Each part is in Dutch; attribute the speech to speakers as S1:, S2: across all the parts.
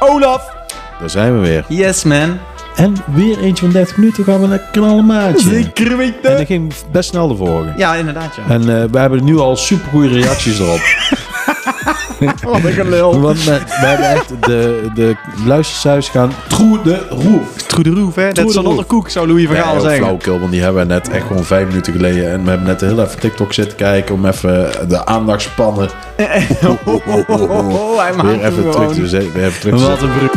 S1: Olaf.
S2: Daar zijn we weer.
S1: Yes, man.
S2: En weer eentje van 30 minuten gaan we een knallen maatje.
S1: Zeker
S2: En
S1: weten.
S2: dat ging best snel de vorige.
S1: Ja, inderdaad, ja.
S2: En eh, we hebben nu al supergoeie reacties erop.
S1: Wat een gelul.
S2: Want we, we hebben echt de, de luistercijfers gaan troe de roef.
S1: Troederoef, hè? Dat
S2: Through
S1: is
S2: the
S1: een
S2: roof.
S1: onderkoek, zou Louis van
S2: Ja,
S1: Gaal
S2: heel
S1: zeggen.
S2: flauwekul, want die hebben we net echt gewoon vijf minuten geleden. En we hebben net heel even TikTok zitten kijken om even de aandachtspannen
S1: Oh, hij maakt
S2: weer
S1: hem
S2: even terug
S1: gewoon.
S2: te zetten. Weer even terug te
S1: Wat een broer.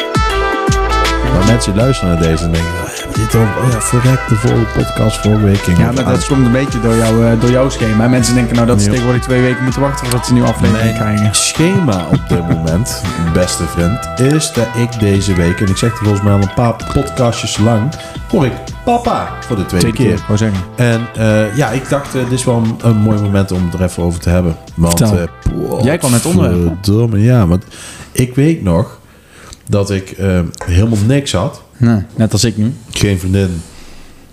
S2: zetten. Maar mensen luisteren naar deze en denken, "Waar hebben we dit dan? Oh ja, verrek, de vorige podcast vorige week ging
S1: Ja,
S2: over
S1: maar dat komt een beetje door, jou, eh, door jouw schema. Mensen denken nou dat ze
S2: Ja.
S1: tegenwoordig twee weken moeten wachten voordat ze een nieuwe aflevering krijgen.
S2: Mijn schema op dit moment, beste vriend, is dat ik deze week, en ik zeg het volgens mij al een paar podcastjes lang, hoor ik papa voor de tweede, keer.
S1: wou zeggen.
S2: En eh, ja, ik dacht, eh, dit is wel een, een mooi moment om het er even over te hebben. Want,
S1: Vertel.
S2: eh, poeh,
S1: Jij kwam met onderwerpen.
S2: verdomme, ja, want ik weet nog dat ik eh, helemaal niks had.
S1: Nee, net als ik nu.
S2: Geen vriendin.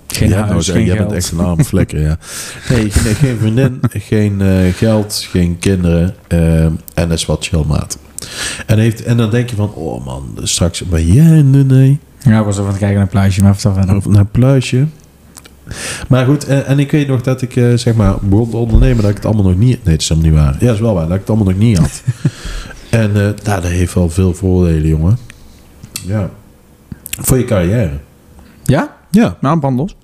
S1: Geen
S2: Ja, nou,
S1: huis,
S2: zeg,
S1: geen
S2: jij
S1: geld.
S2: bent echt een arme flikker, ja. Nee, geen, geen vriendin, geen eh, geld, geen kinderen. eh, en dat is wat chillmaat. En, heeft, en dan denk je van, oh man, straks ben jij nee, nee.
S1: Ja, ik was even aan het kijken naar een plaatje, maar vertel verder.
S2: Of naar pluisje. Maar goed, en, en ik weet nog dat ik, eh, zeg maar, begon te ondernemen dat ik het allemaal nog niet... Nee, het is helemaal niet waar. Ja, dat is wel waar, dat ik het allemaal nog niet had. en eh, nou, dat heeft wel veel voordelen, jongen. Ja. Voor je carrière.
S1: Ja?
S2: Ja.
S1: Nou, band los.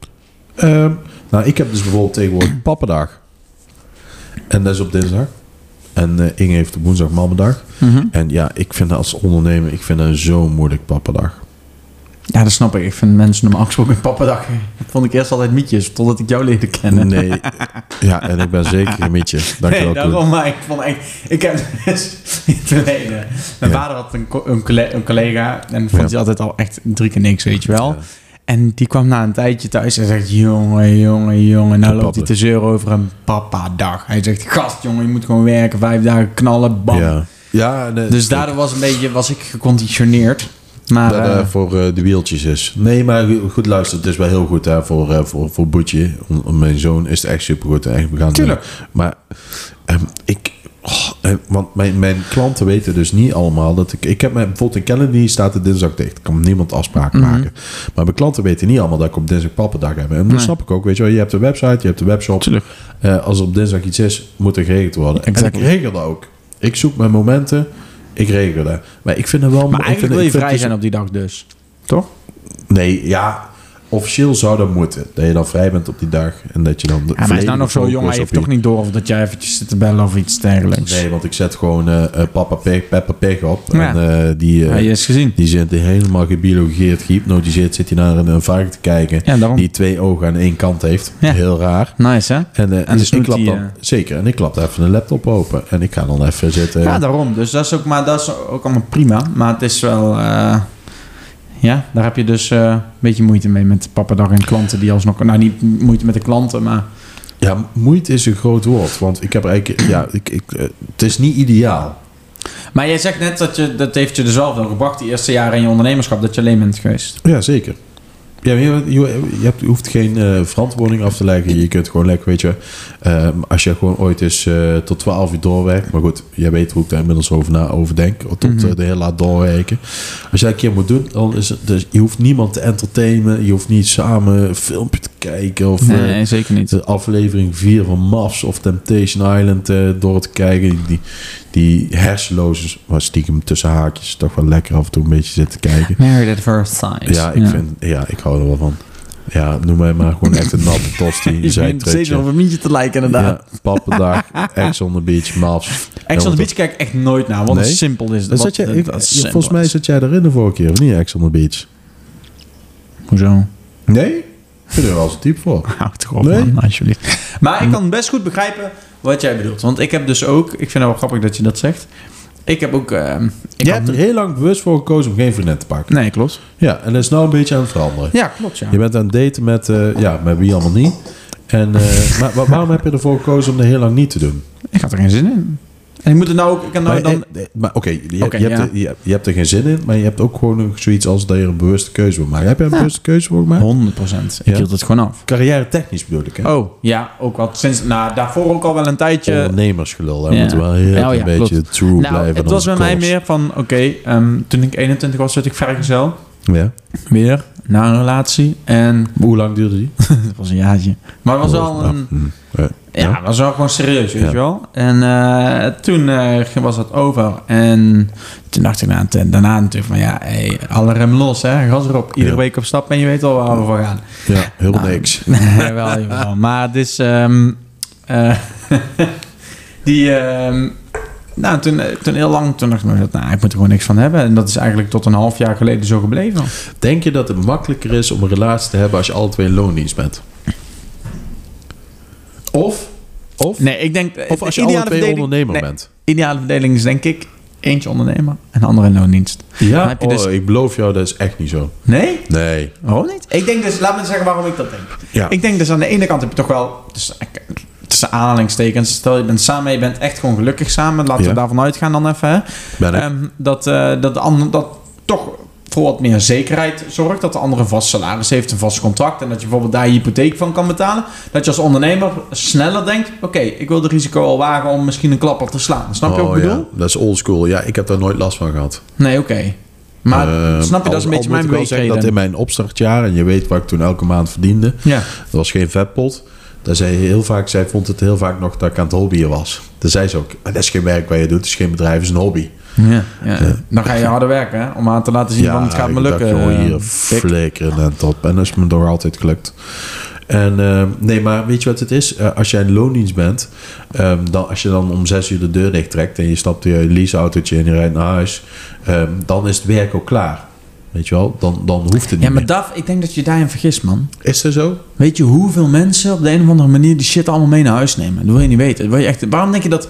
S2: Ehm, nou, ik heb dus bijvoorbeeld tegenwoordig pappendag. En dat is op dinsdag. En eh, Inge heeft op woensdag mammadag.
S1: Mhm.
S2: En ja, ik vind dat als ondernemer, ik vind dat zo moeilijk pappendag.
S1: Ja, dat snap ik. Ik vind mensen normaal gesproken pappadag. Vond ik eerst altijd mietjes, totdat ik jou leerde kennen.
S2: Nee. ja, en ik ben zeker een mietje. Dankjewel,
S1: Nee,
S2: Koen.
S1: daarom, maar ik vond echt... Ik heb dus in het verleden... Mijn
S2: Ja.
S1: vader had een, co- een, collega, een collega en vond
S2: Ja.
S1: hij altijd al echt drie keer niks, weet je wel.
S2: Ja.
S1: En die kwam na een tijdje thuis en zegt... Jongen, jongen, jongen, nou
S2: Te
S1: loopt hij te
S2: pappen.
S1: zeuren over een papa-dag. Hij zegt, gast, jongen, je moet gewoon werken. Vijf dagen knallen, bam.
S2: Ja. ja nee,
S1: Dus daardoor was, een beetje, was ik geconditioneerd. Maar...
S2: Dat
S1: eh,
S2: eh, voor eh, de wieltjes is. Nee, maar goed- goed luister, het is wel heel goed hè, voor, eh, voor, voor Boetje. Om, om mijn zoon is het echt supergoed. Echt, we gaan het
S1: Tuurlijk.
S2: doen. Maar ehm, ik... oh, eh, want mijn, mijn klanten weten dus niet allemaal dat ik... Ik heb mijn, bijvoorbeeld in Kennedy staat de dinsdag dicht. Kan niemand afspraken
S1: Mhm.
S2: maken. Maar mijn klanten weten niet allemaal dat ik op dinsdag pappendag heb. En dat snap ik ook. Weet je wel, je hebt de website, je hebt de webshop.
S1: Tuurlijk.
S2: Eh, als er op dinsdag iets is, moet er geregeld worden.
S1: Exactly.
S2: En ik regel dat ook. Ik zoek mijn momenten. Ik regel dat. Maar ik vind het wel...
S1: maar
S2: ik vind,
S1: eigenlijk wil je
S2: ik vind
S1: vrij
S2: het-
S1: zijn op die dag dus. Toch?
S2: Nee, ja. Officieel zou dat moeten. Dat je dan vrij bent op die dag. En dat je dan...
S1: Ja, maar hij is nou nog zo jong, hij heeft toch niet door of dat jij eventjes zit te bellen of iets dergelijks.
S2: Nee, want ik zet gewoon eh, eh, Papa Pig, Peppa Pig op.
S1: Ja.
S2: En eh, die, eh,
S1: Hij is gezien.
S2: die zit helemaal gebiologeerd, gehypnotiseerd. Zit hij naar een, een varken te kijken.
S1: Ja, daarom.
S2: Die twee ogen aan één kant heeft.
S1: Ja.
S2: Heel raar.
S1: Nice, hè?
S2: En, eh,
S1: En
S2: dus ik
S1: snoet
S2: klap
S1: die,
S2: dan,
S1: eh,
S2: zeker. En ik klap even de laptop open. En ik ga dan even zitten.
S1: Ja, daarom. Dus dat is ook, maar dat is ook allemaal prima. Maar het is wel... eh, ja, daar heb je dus eh, een beetje moeite mee met pappadag en klanten die alsnog... Nou, niet moeite met de klanten, maar...
S2: ja, moeite is een groot woord. Want ik heb eigenlijk... Ja, ik, ik, eh, het is niet ideaal.
S1: Maar jij zegt net dat je... Dat heeft je dus wel veel gebracht, die eerste jaren in je ondernemerschap, dat je alleen bent geweest.
S2: Ja, zeker. Ja, maar je, je, je hebt, je hoeft geen eh, verantwoording af te leggen. Je kunt gewoon lekker, weet je. eh, als je gewoon ooit eens eh, tot 12 uur doorwerkt. Maar goed, jij weet hoe ik daar inmiddels over, na, over denk. Tot
S1: Mhm.
S2: eh, de hele laat doorwerken. Als je dat een keer moet doen, dan is het. Dus, je hoeft niemand te entertainen. Je hoeft niet samen een filmpje te kijken. Of eh,
S1: zeker niet.
S2: de aflevering 4 van MAFS of Temptation Island eh, door te kijken. Die, die hersenloze, maar stiekem tussen haakjes, toch wel lekker af en toe een beetje zitten kijken.
S1: Married at first sight.
S2: Ja, ik, Vind, ja, ik hou er wel van. Ja, noem mij maar gewoon echt een natte tosti. Zij
S1: zeker op
S2: trutje.
S1: een mietje te lijken, inderdaad.
S2: Ja, pappendag, ex on the beach, maps.
S1: Ex on the
S2: Ja,
S1: Beach kijk ik echt nooit naar, want
S2: Nee?
S1: het simpel is. wat-
S2: want- Zat je,
S1: dat-
S2: ik-
S1: dat is
S2: ja,
S1: simpel.
S2: volgens mij zat jij erin de vorige keer, of niet, ex on the beach?
S1: Hoezo?
S2: Nee? Ik vind er wel eens een type voor.
S1: Houd toch op,
S2: Nee? Hm.
S1: man, alsjeblieft. Maar ik kan best goed begrijpen wat jij bedoelt. Want ik heb dus ook... Ik vind het wel grappig dat je dat zegt. Ik heb ook... ehm, ik
S2: Je
S1: had-
S2: hebt er heel lang bewust voor gekozen om geen vriendin te pakken.
S1: Nee, klopt.
S2: Ja, en dat is nou een beetje aan het veranderen.
S1: Ja, klopt, ja.
S2: Je bent aan het daten met, eh, ja, met wie allemaal niet. En, eh, maar wa- waarom heb je ervoor gekozen om dat heel lang niet te doen?
S1: Ik had er geen zin in. En je moet het nou ook... Ik kan nou
S2: maar
S1: dan,
S2: eh, eh, maar oké, je,
S1: Oké,
S2: je, hebt
S1: ja.
S2: er- je, je hebt er geen zin in, maar je hebt ook gewoon nog zoiets als dat je er een bewuste keuze voor maakt. Heb je een bewuste keuze voor gemaakt?
S1: 100 Ik
S2: Ja.
S1: hield het gewoon af.
S2: Carrière technisch bedoel ik, hè?
S1: Oh, ja, ook wat. Sinds, nou, daarvoor ook al wel een tijdje.
S2: Ondernemersgelul, daar
S1: Ja.
S2: moeten we wel heel
S1: Ja, oh ja,
S2: een beetje true
S1: nou,
S2: Oh, blijven.
S1: het
S2: aan
S1: was bij
S2: onze
S1: mij
S2: calls.
S1: meer van, oké, ehm, toen ik 21 was, zat ik vrijgezel.
S2: Ja.
S1: Weer, na een relatie. En
S2: Hoe lang duurde die?
S1: dat was een jaartje. Maar het was wel
S2: Nou,
S1: een...
S2: hm, ja.
S1: Ja, dat was wel gewoon serieus, weet
S2: Ja.
S1: je wel. En eh, toen eh, ging- was dat over. En toen dacht ik na, en daarna natuurlijk van... Ja, hey, alle rem los, hè. Gas erop. Iedere
S2: Ja.
S1: week op stap en je weet wel waar we voor gaan.
S2: Ja, heel
S1: Nou,
S2: niks.
S1: Nee, wel, jawel. Maar het is... ehm, eh, die... ehm, nou, toen, eh, toen heel lang, toen dacht ik, nou, ik moet er gewoon niks van hebben. En dat is eigenlijk tot een half jaar geleden zo gebleven.
S2: Denk je dat het makkelijker is om een relatie te hebben als je alle twee in loondienst bent? Of, of,
S1: Nee, ik denk... eh,
S2: of als je
S1: de
S2: alle
S1: ideale
S2: twee
S1: verdeling-
S2: ondernemer
S1: nee,
S2: bent?
S1: ideale verdeling is denk ik eentje ondernemer en de andere in loondienst. Dan
S2: Ja,
S1: heb je dus-
S2: oh, ik beloof jou, dat is echt niet zo.
S1: Nee?
S2: Nee.
S1: Waarom niet? Ik denk dus, laat me zeggen waarom ik dat denk.
S2: Oh, Ja.
S1: Ik denk dus aan de ene kant heb je toch wel, dus, eh, tussen aanhalingstekens, stel je bent samen, je bent echt gewoon gelukkig samen, laten
S2: Ja.
S1: we daarvan uitgaan dan even, hè.
S2: Ben ik.
S1: Ehm, dat, eh, dat, de ander, dat toch voor wat meer zekerheid zorgt, dat de ander een vast salaris heeft, een vast contract en dat je bijvoorbeeld daar je hypotheek van kan betalen. Dat je als ondernemer sneller denkt, oké, ik wil de risico al wagen om misschien een klapper te slaan. Snap je
S2: oh,
S1: wat ik bedoel?
S2: Ja, dat is oldschool. Ja, ik heb daar nooit last van gehad.
S1: Nee, oké. Maar
S2: Ehm,
S1: snap je, dat is
S2: al-
S1: een beetje
S2: al moet
S1: mijn
S2: ik wel zeggen
S1: beweegreden.
S2: dat in mijn opstartjaar, en je weet wat ik toen elke maand verdiende,
S1: Ja.
S2: dat was geen vetpot. Daar zei heel vaak, zij vond het heel vaak nog dat ik aan het hobbyen was. Daar zei ze ook, "Ah, dat is geen werk wat je doet, het is geen bedrijf, het is een hobby.
S1: Ja, ja. Dan ga je harder werken, hè? Om aan te laten zien, van het gaat me
S2: Eh, ik dacht
S1: lukken.
S2: gewoon
S1: eh,
S2: hier
S1: pik.
S2: flikkeren en top. En dat is me nog altijd gelukt. En eh, nee, maar weet je wat het is? Eh, als jij in loondienst bent, ehm, dan, als je dan om zes uur de deur dicht trekt en je stapt in je leaseautootje en je rijdt naar huis, ehm, dan is het werk ook klaar. Weet je wel? Dan, dan hoeft het niet
S1: Ja, maar
S2: meer.
S1: Daf, ik denk dat je daarin vergist, man.
S2: Is dat zo?
S1: Weet je hoeveel mensen op de een of andere manier die shit allemaal mee naar huis nemen? Dat wil je niet weten. Dat wil je echt... Waarom denk je dat...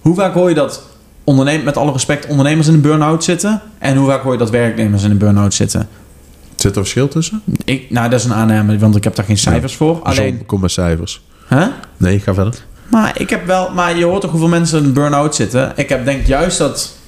S1: Hoe vaak hoor je dat, ondernem... met alle respect, ondernemers in een burn-out zitten? En hoe vaak hoor je dat werknemers in een burn-out zitten?
S2: Zit er verschil tussen?
S1: Ik, nou, dat is een aanname, want ik heb daar geen cijfers voor. Alleen...
S2: Zo, Kom met cijfers.
S1: Hè?
S2: Nee, ga verder.
S1: Maar ik heb wel, maar je hoort toch hoeveel mensen in een burn-out zitten. Ik heb denk juist dat.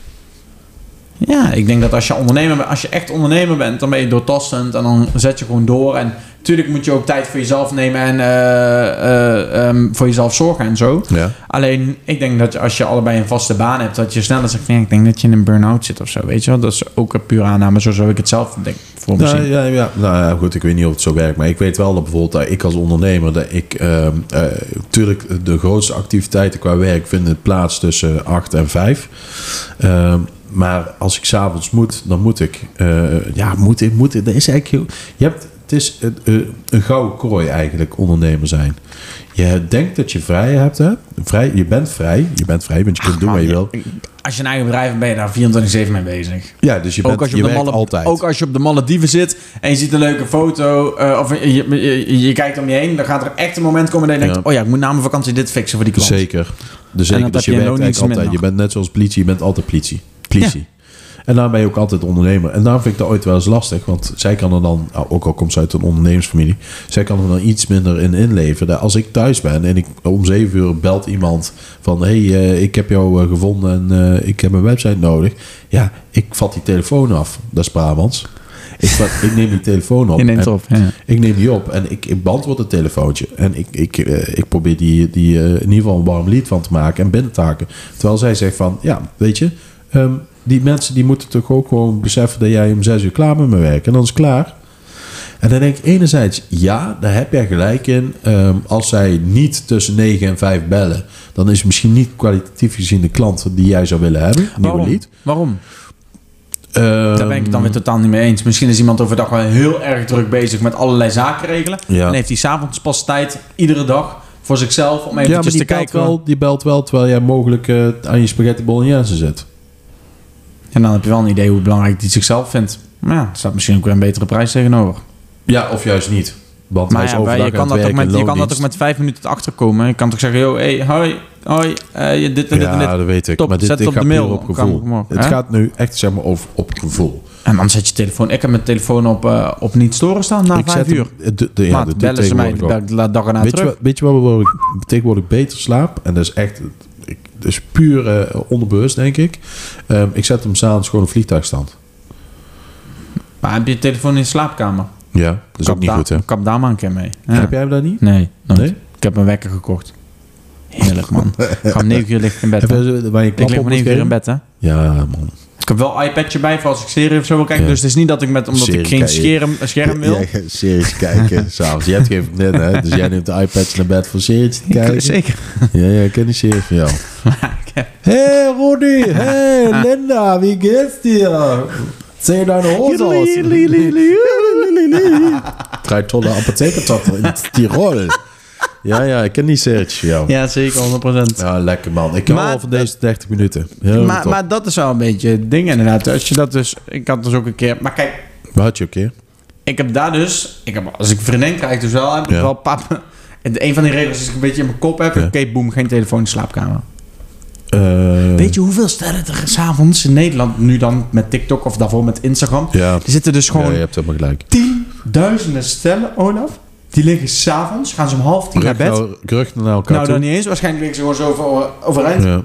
S1: Ja, ik denk dat als je ondernemer bent, als je echt ondernemer bent, dan ben je doortastend en dan zet je gewoon door. En natuurlijk moet je ook tijd voor jezelf nemen en eh, eh, ehm, voor jezelf zorgen en zo.
S2: Ja.
S1: Alleen, ik denk dat je, als je allebei een vaste baan hebt, dat je sneller zegt, van, ja, ik denk dat je in een burn-out zit of zo. Weet je wel, dat is ook een pure aanname. Zo zou ik het zelf denk, voor me
S2: Nou
S1: zien.
S2: ja, ja, nou ja, goed, ik weet niet of het zo werkt. Maar ik weet wel dat bijvoorbeeld dat ik als ondernemer... dat ik ehm, eh, tuurlijk de grootste activiteiten qua werk vinden plaats tussen 8 en 5. Ehm, maar als ik s'avonds moet, dan moet ik. Eh, ja, moet ik, moet ik. Dat is eigenlijk heel... Je hebt, het is een, een- een gouden kooi eigenlijk, ondernemer zijn. Je denkt dat je vrij hebt, hè? Vrij, je bent vrij. Je bent vrij, want je kunt doen
S1: Man,
S2: wat je wil.
S1: Als je een eigen bedrijf hebt, ben je daar 24-7 mee bezig.
S2: Ja, dus je, bent,
S1: ook, als je
S2: je,
S1: op de
S2: werkt
S1: Malle-
S2: altijd.
S1: ook als je op de Malediven zit en je ziet een leuke foto eh, of je, je, je- je kijkt om je heen, dan gaat er echt een moment komen dat je denkt,
S2: Ja.
S1: oh ja, ik moet na mijn vakantie dit fixen voor die klant.
S2: Zeker. Dus
S1: En
S2: zeker.
S1: dat
S2: Dus je
S1: heb je
S2: werkt
S1: in
S2: eigenlijk
S1: loondienst
S2: altijd. Je
S1: minder.
S2: bent net zoals politie, je bent altijd politie. Politie. En daarom ben je ook altijd ondernemer. En daarom vind ik dat ooit wel eens lastig. Want zij kan er dan, nou, ook al komt ze uit een ondernemersfamilie, zij kan er dan iets minder in inleven. Dat Als ik thuis ben en ik om zeven uur belt iemand van: hey, eh, ik heb jou eh, gevonden en eh, ik heb een website nodig. Ja, ik vat die telefoon af. Dat is Brabants. Ik, vat- ik neem die telefoon op.
S1: Je neemt
S2: en-
S1: het op. Ja.
S2: ik neem die op en ik, ik beantwoord het telefoontje. En ik, ik, eh, ik probeer die, die eh, in ieder geval een warm lied van te maken en binnen te haken. Terwijl zij zegt van, ja, weet je, ehm, die mensen die moeten toch ook gewoon beseffen dat jij om zes uur klaar met me werkt. En dan is het klaar. En dan denk ik enerzijds, ja, daar heb jij gelijk in. Ehm, als zij niet tussen 9 en 5 bellen, dan is het misschien niet kwalitatief gezien de klant die jij zou willen hebben. Nieuwe
S1: Waarom?
S2: lied.
S1: Waarom? Daar ben ik het dan weer
S2: Ehm,
S1: totaal niet mee eens. Misschien is iemand overdag wel heel erg druk bezig met allerlei zaken regelen.
S2: Ja.
S1: En heeft hij s'avonds pas tijd, iedere dag, voor zichzelf om
S2: ja, maar
S1: eventjes
S2: die
S1: te
S2: belt,
S1: kijken.
S2: wel, die belt wel terwijl jij mogelijk eh, aan je spaghetti bolognese zit.
S1: En dan heb je wel een idee hoe belangrijk hij zichzelf vindt. Maar ja, er staat misschien ook weer een betere prijs tegenover.
S2: Ja, of juist niet. Want
S1: Maar
S2: hij is
S1: ja, wij-
S2: overdag
S1: je, kan
S2: aan het
S1: dat ook
S2: werken
S1: met,
S2: in
S1: je kan dat ook
S2: loondienst.
S1: met vijf minuten achterkomen. Je kan toch zeggen, joh, hey, hoi, hoi, eh, je dit en dit en dit.
S2: Ja, dat weet ik.
S1: Top,
S2: maar dit,
S1: zet
S2: dit
S1: het op
S2: gaat
S1: de mail.
S2: puur
S1: Kan
S2: op gevoel.
S1: ik hem op,
S2: het
S1: hè?
S2: gaat nu echt zeg maar over op gevoel.
S1: En dan zet je telefoon. Ik heb mijn telefoon op, eh, op niet storen staan na vijf
S2: hem-
S1: uur.
S2: de, de, ja,
S1: Maat,
S2: dat doe ik
S1: bellen ze mij
S2: tegenwoordig
S1: de
S2: ook.
S1: dag, de dag erna
S2: Weet je,
S1: terug.
S2: wat- weet je wat we tegenwoordig beter slaap? En dat is echt... Ik, is puur eh, onderbewust, denk ik. Ehm, ik zet hem s'avonds gewoon op vliegtuigstand.
S1: Maar heb je je telefoon in de slaapkamer?
S2: Ja, dat is ook niet goed, hè?
S1: Kap daar maar een keer mee. Ja.
S2: Heb jij hem daar niet?
S1: Nee, nooit.
S2: Nee?
S1: Ik heb een wekker gekocht. Heerlijk, man. ik ga om 9 uur licht in bed.
S2: Heb
S1: hè.
S2: je, waar je klap
S1: Ik lig
S2: op
S1: om 9
S2: moet
S1: uur in
S2: geven?
S1: bed, hè.
S2: Ja, man.
S1: Ik heb wel een iPadje bij voor als ik serie of zo wil kijken.
S2: Ja.
S1: Dus het is niet dat ik met, omdat
S2: Serie
S1: ik geen
S2: kijk je.
S1: scherm, scherm wil.
S2: Jij gaat series kijken s'avonds. Jij hebt geen vriendin, hè? Dus jij neemt de iPads naar bed voor series te
S1: Ik-
S2: kijken.
S1: Zeker.
S2: Ja, ja, ik ken die series van jou.
S1: Maar ik heb-
S2: Hé, hey, Ronnie. Hé, hey, Linda. Wie geht's dir? Zeh deine Hose aus. Drei tolle Apothekertochter in Tirol. Ja, ja, ik ken die series van jou.
S1: ja, zeker, 100%.
S2: Ja, lekker man. Ik hou
S1: Maar-
S2: al van deze 30 minuten. Heel
S1: maar,
S2: top.
S1: maar dat is wel een beetje het ding inderdaad. Als je dat dus... Ik had dus ook een keer... Maar kijk,
S2: Wat had je ook keer?
S1: ik heb daar dus... Ik heb, als ik een vriendin krijg, dus wel... Heb ik
S2: Ja.
S1: wel pap... En een van die regels is dat ik een beetje in mijn kop heb.
S2: Ja.
S1: Oké, boem, geen telefoon in de slaapkamer.
S2: Eh,
S1: Weet je hoeveel stellen er s'avonds in Nederland... Nu dan met TikTok of daarvoor met Instagram...
S2: Ja.
S1: Er zitten dus
S2: ja,
S1: gewoon
S2: je hebt helemaal gelijk.
S1: tienduizenden stellen, Olaf. Die liggen s'avonds, gaan ze om half tien naar
S2: Rug
S1: bed. Nou,
S2: naar, rug naar elkaar toe.
S1: dan niet eens. Waarschijnlijk liggen ze gewoon zo over, overeind.
S2: Ja. Ja,
S1: Hoe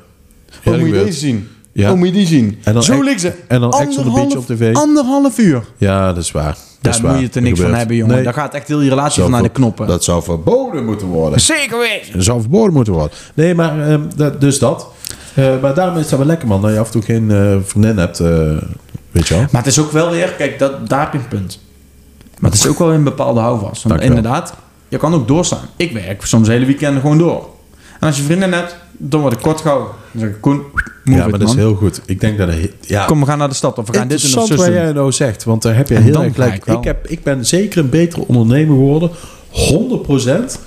S2: dat
S1: moet je
S2: gebeurt.
S1: deze zien?
S2: Ja.
S1: Hoe moet je die zien?
S2: En dan
S1: zo
S2: Ex-
S1: liggen ze.
S2: en dan Ex on the Beach op tv.
S1: Anderhalf uur.
S2: Ja, dat is waar. Dat
S1: Daar
S2: is waar.
S1: moet je het er
S2: Dat
S1: niks van
S2: gebeurt.
S1: hebben, jongen.
S2: Nee,
S1: Daar gaat echt heel je relatie
S2: zou
S1: van naar de
S2: ver-
S1: knoppen.
S2: Dat zou verboden moeten worden.
S1: Zeker weten.
S2: Dat zou verboden moeten worden. Nee, maar ehm, dat, dus dat. Eh, maar daarom is dat wel lekker, man. Dat je af en toe geen eh vriendin hebt. eh, weet je wel.
S1: Maar het is ook wel weer, kijk, dat, daar heb je een punt. Maar het is ook wel een bepaalde houvast. Want
S2: Dankjewel.
S1: inderdaad, je kan ook doorstaan. Ik werk soms hele weekenden gewoon door. En als je vrienden hebt, dan word ik kort gehouden. Dan zeg ik, Koen, move
S2: ja, maar
S1: it,
S2: dat is
S1: man.
S2: heel goed. Ik denk dat... het- Ja,
S1: Kom, we gaan naar de stad of we gaan dit en dat
S2: Interessant
S1: zus
S2: wat
S1: doen.
S2: jij nou zegt, want daar heb je
S1: En
S2: heel
S1: dan
S2: erg
S1: ga ik
S2: gelijk.
S1: wel.
S2: Ik, heb, ik ben zeker een betere ondernemer geworden, 100%,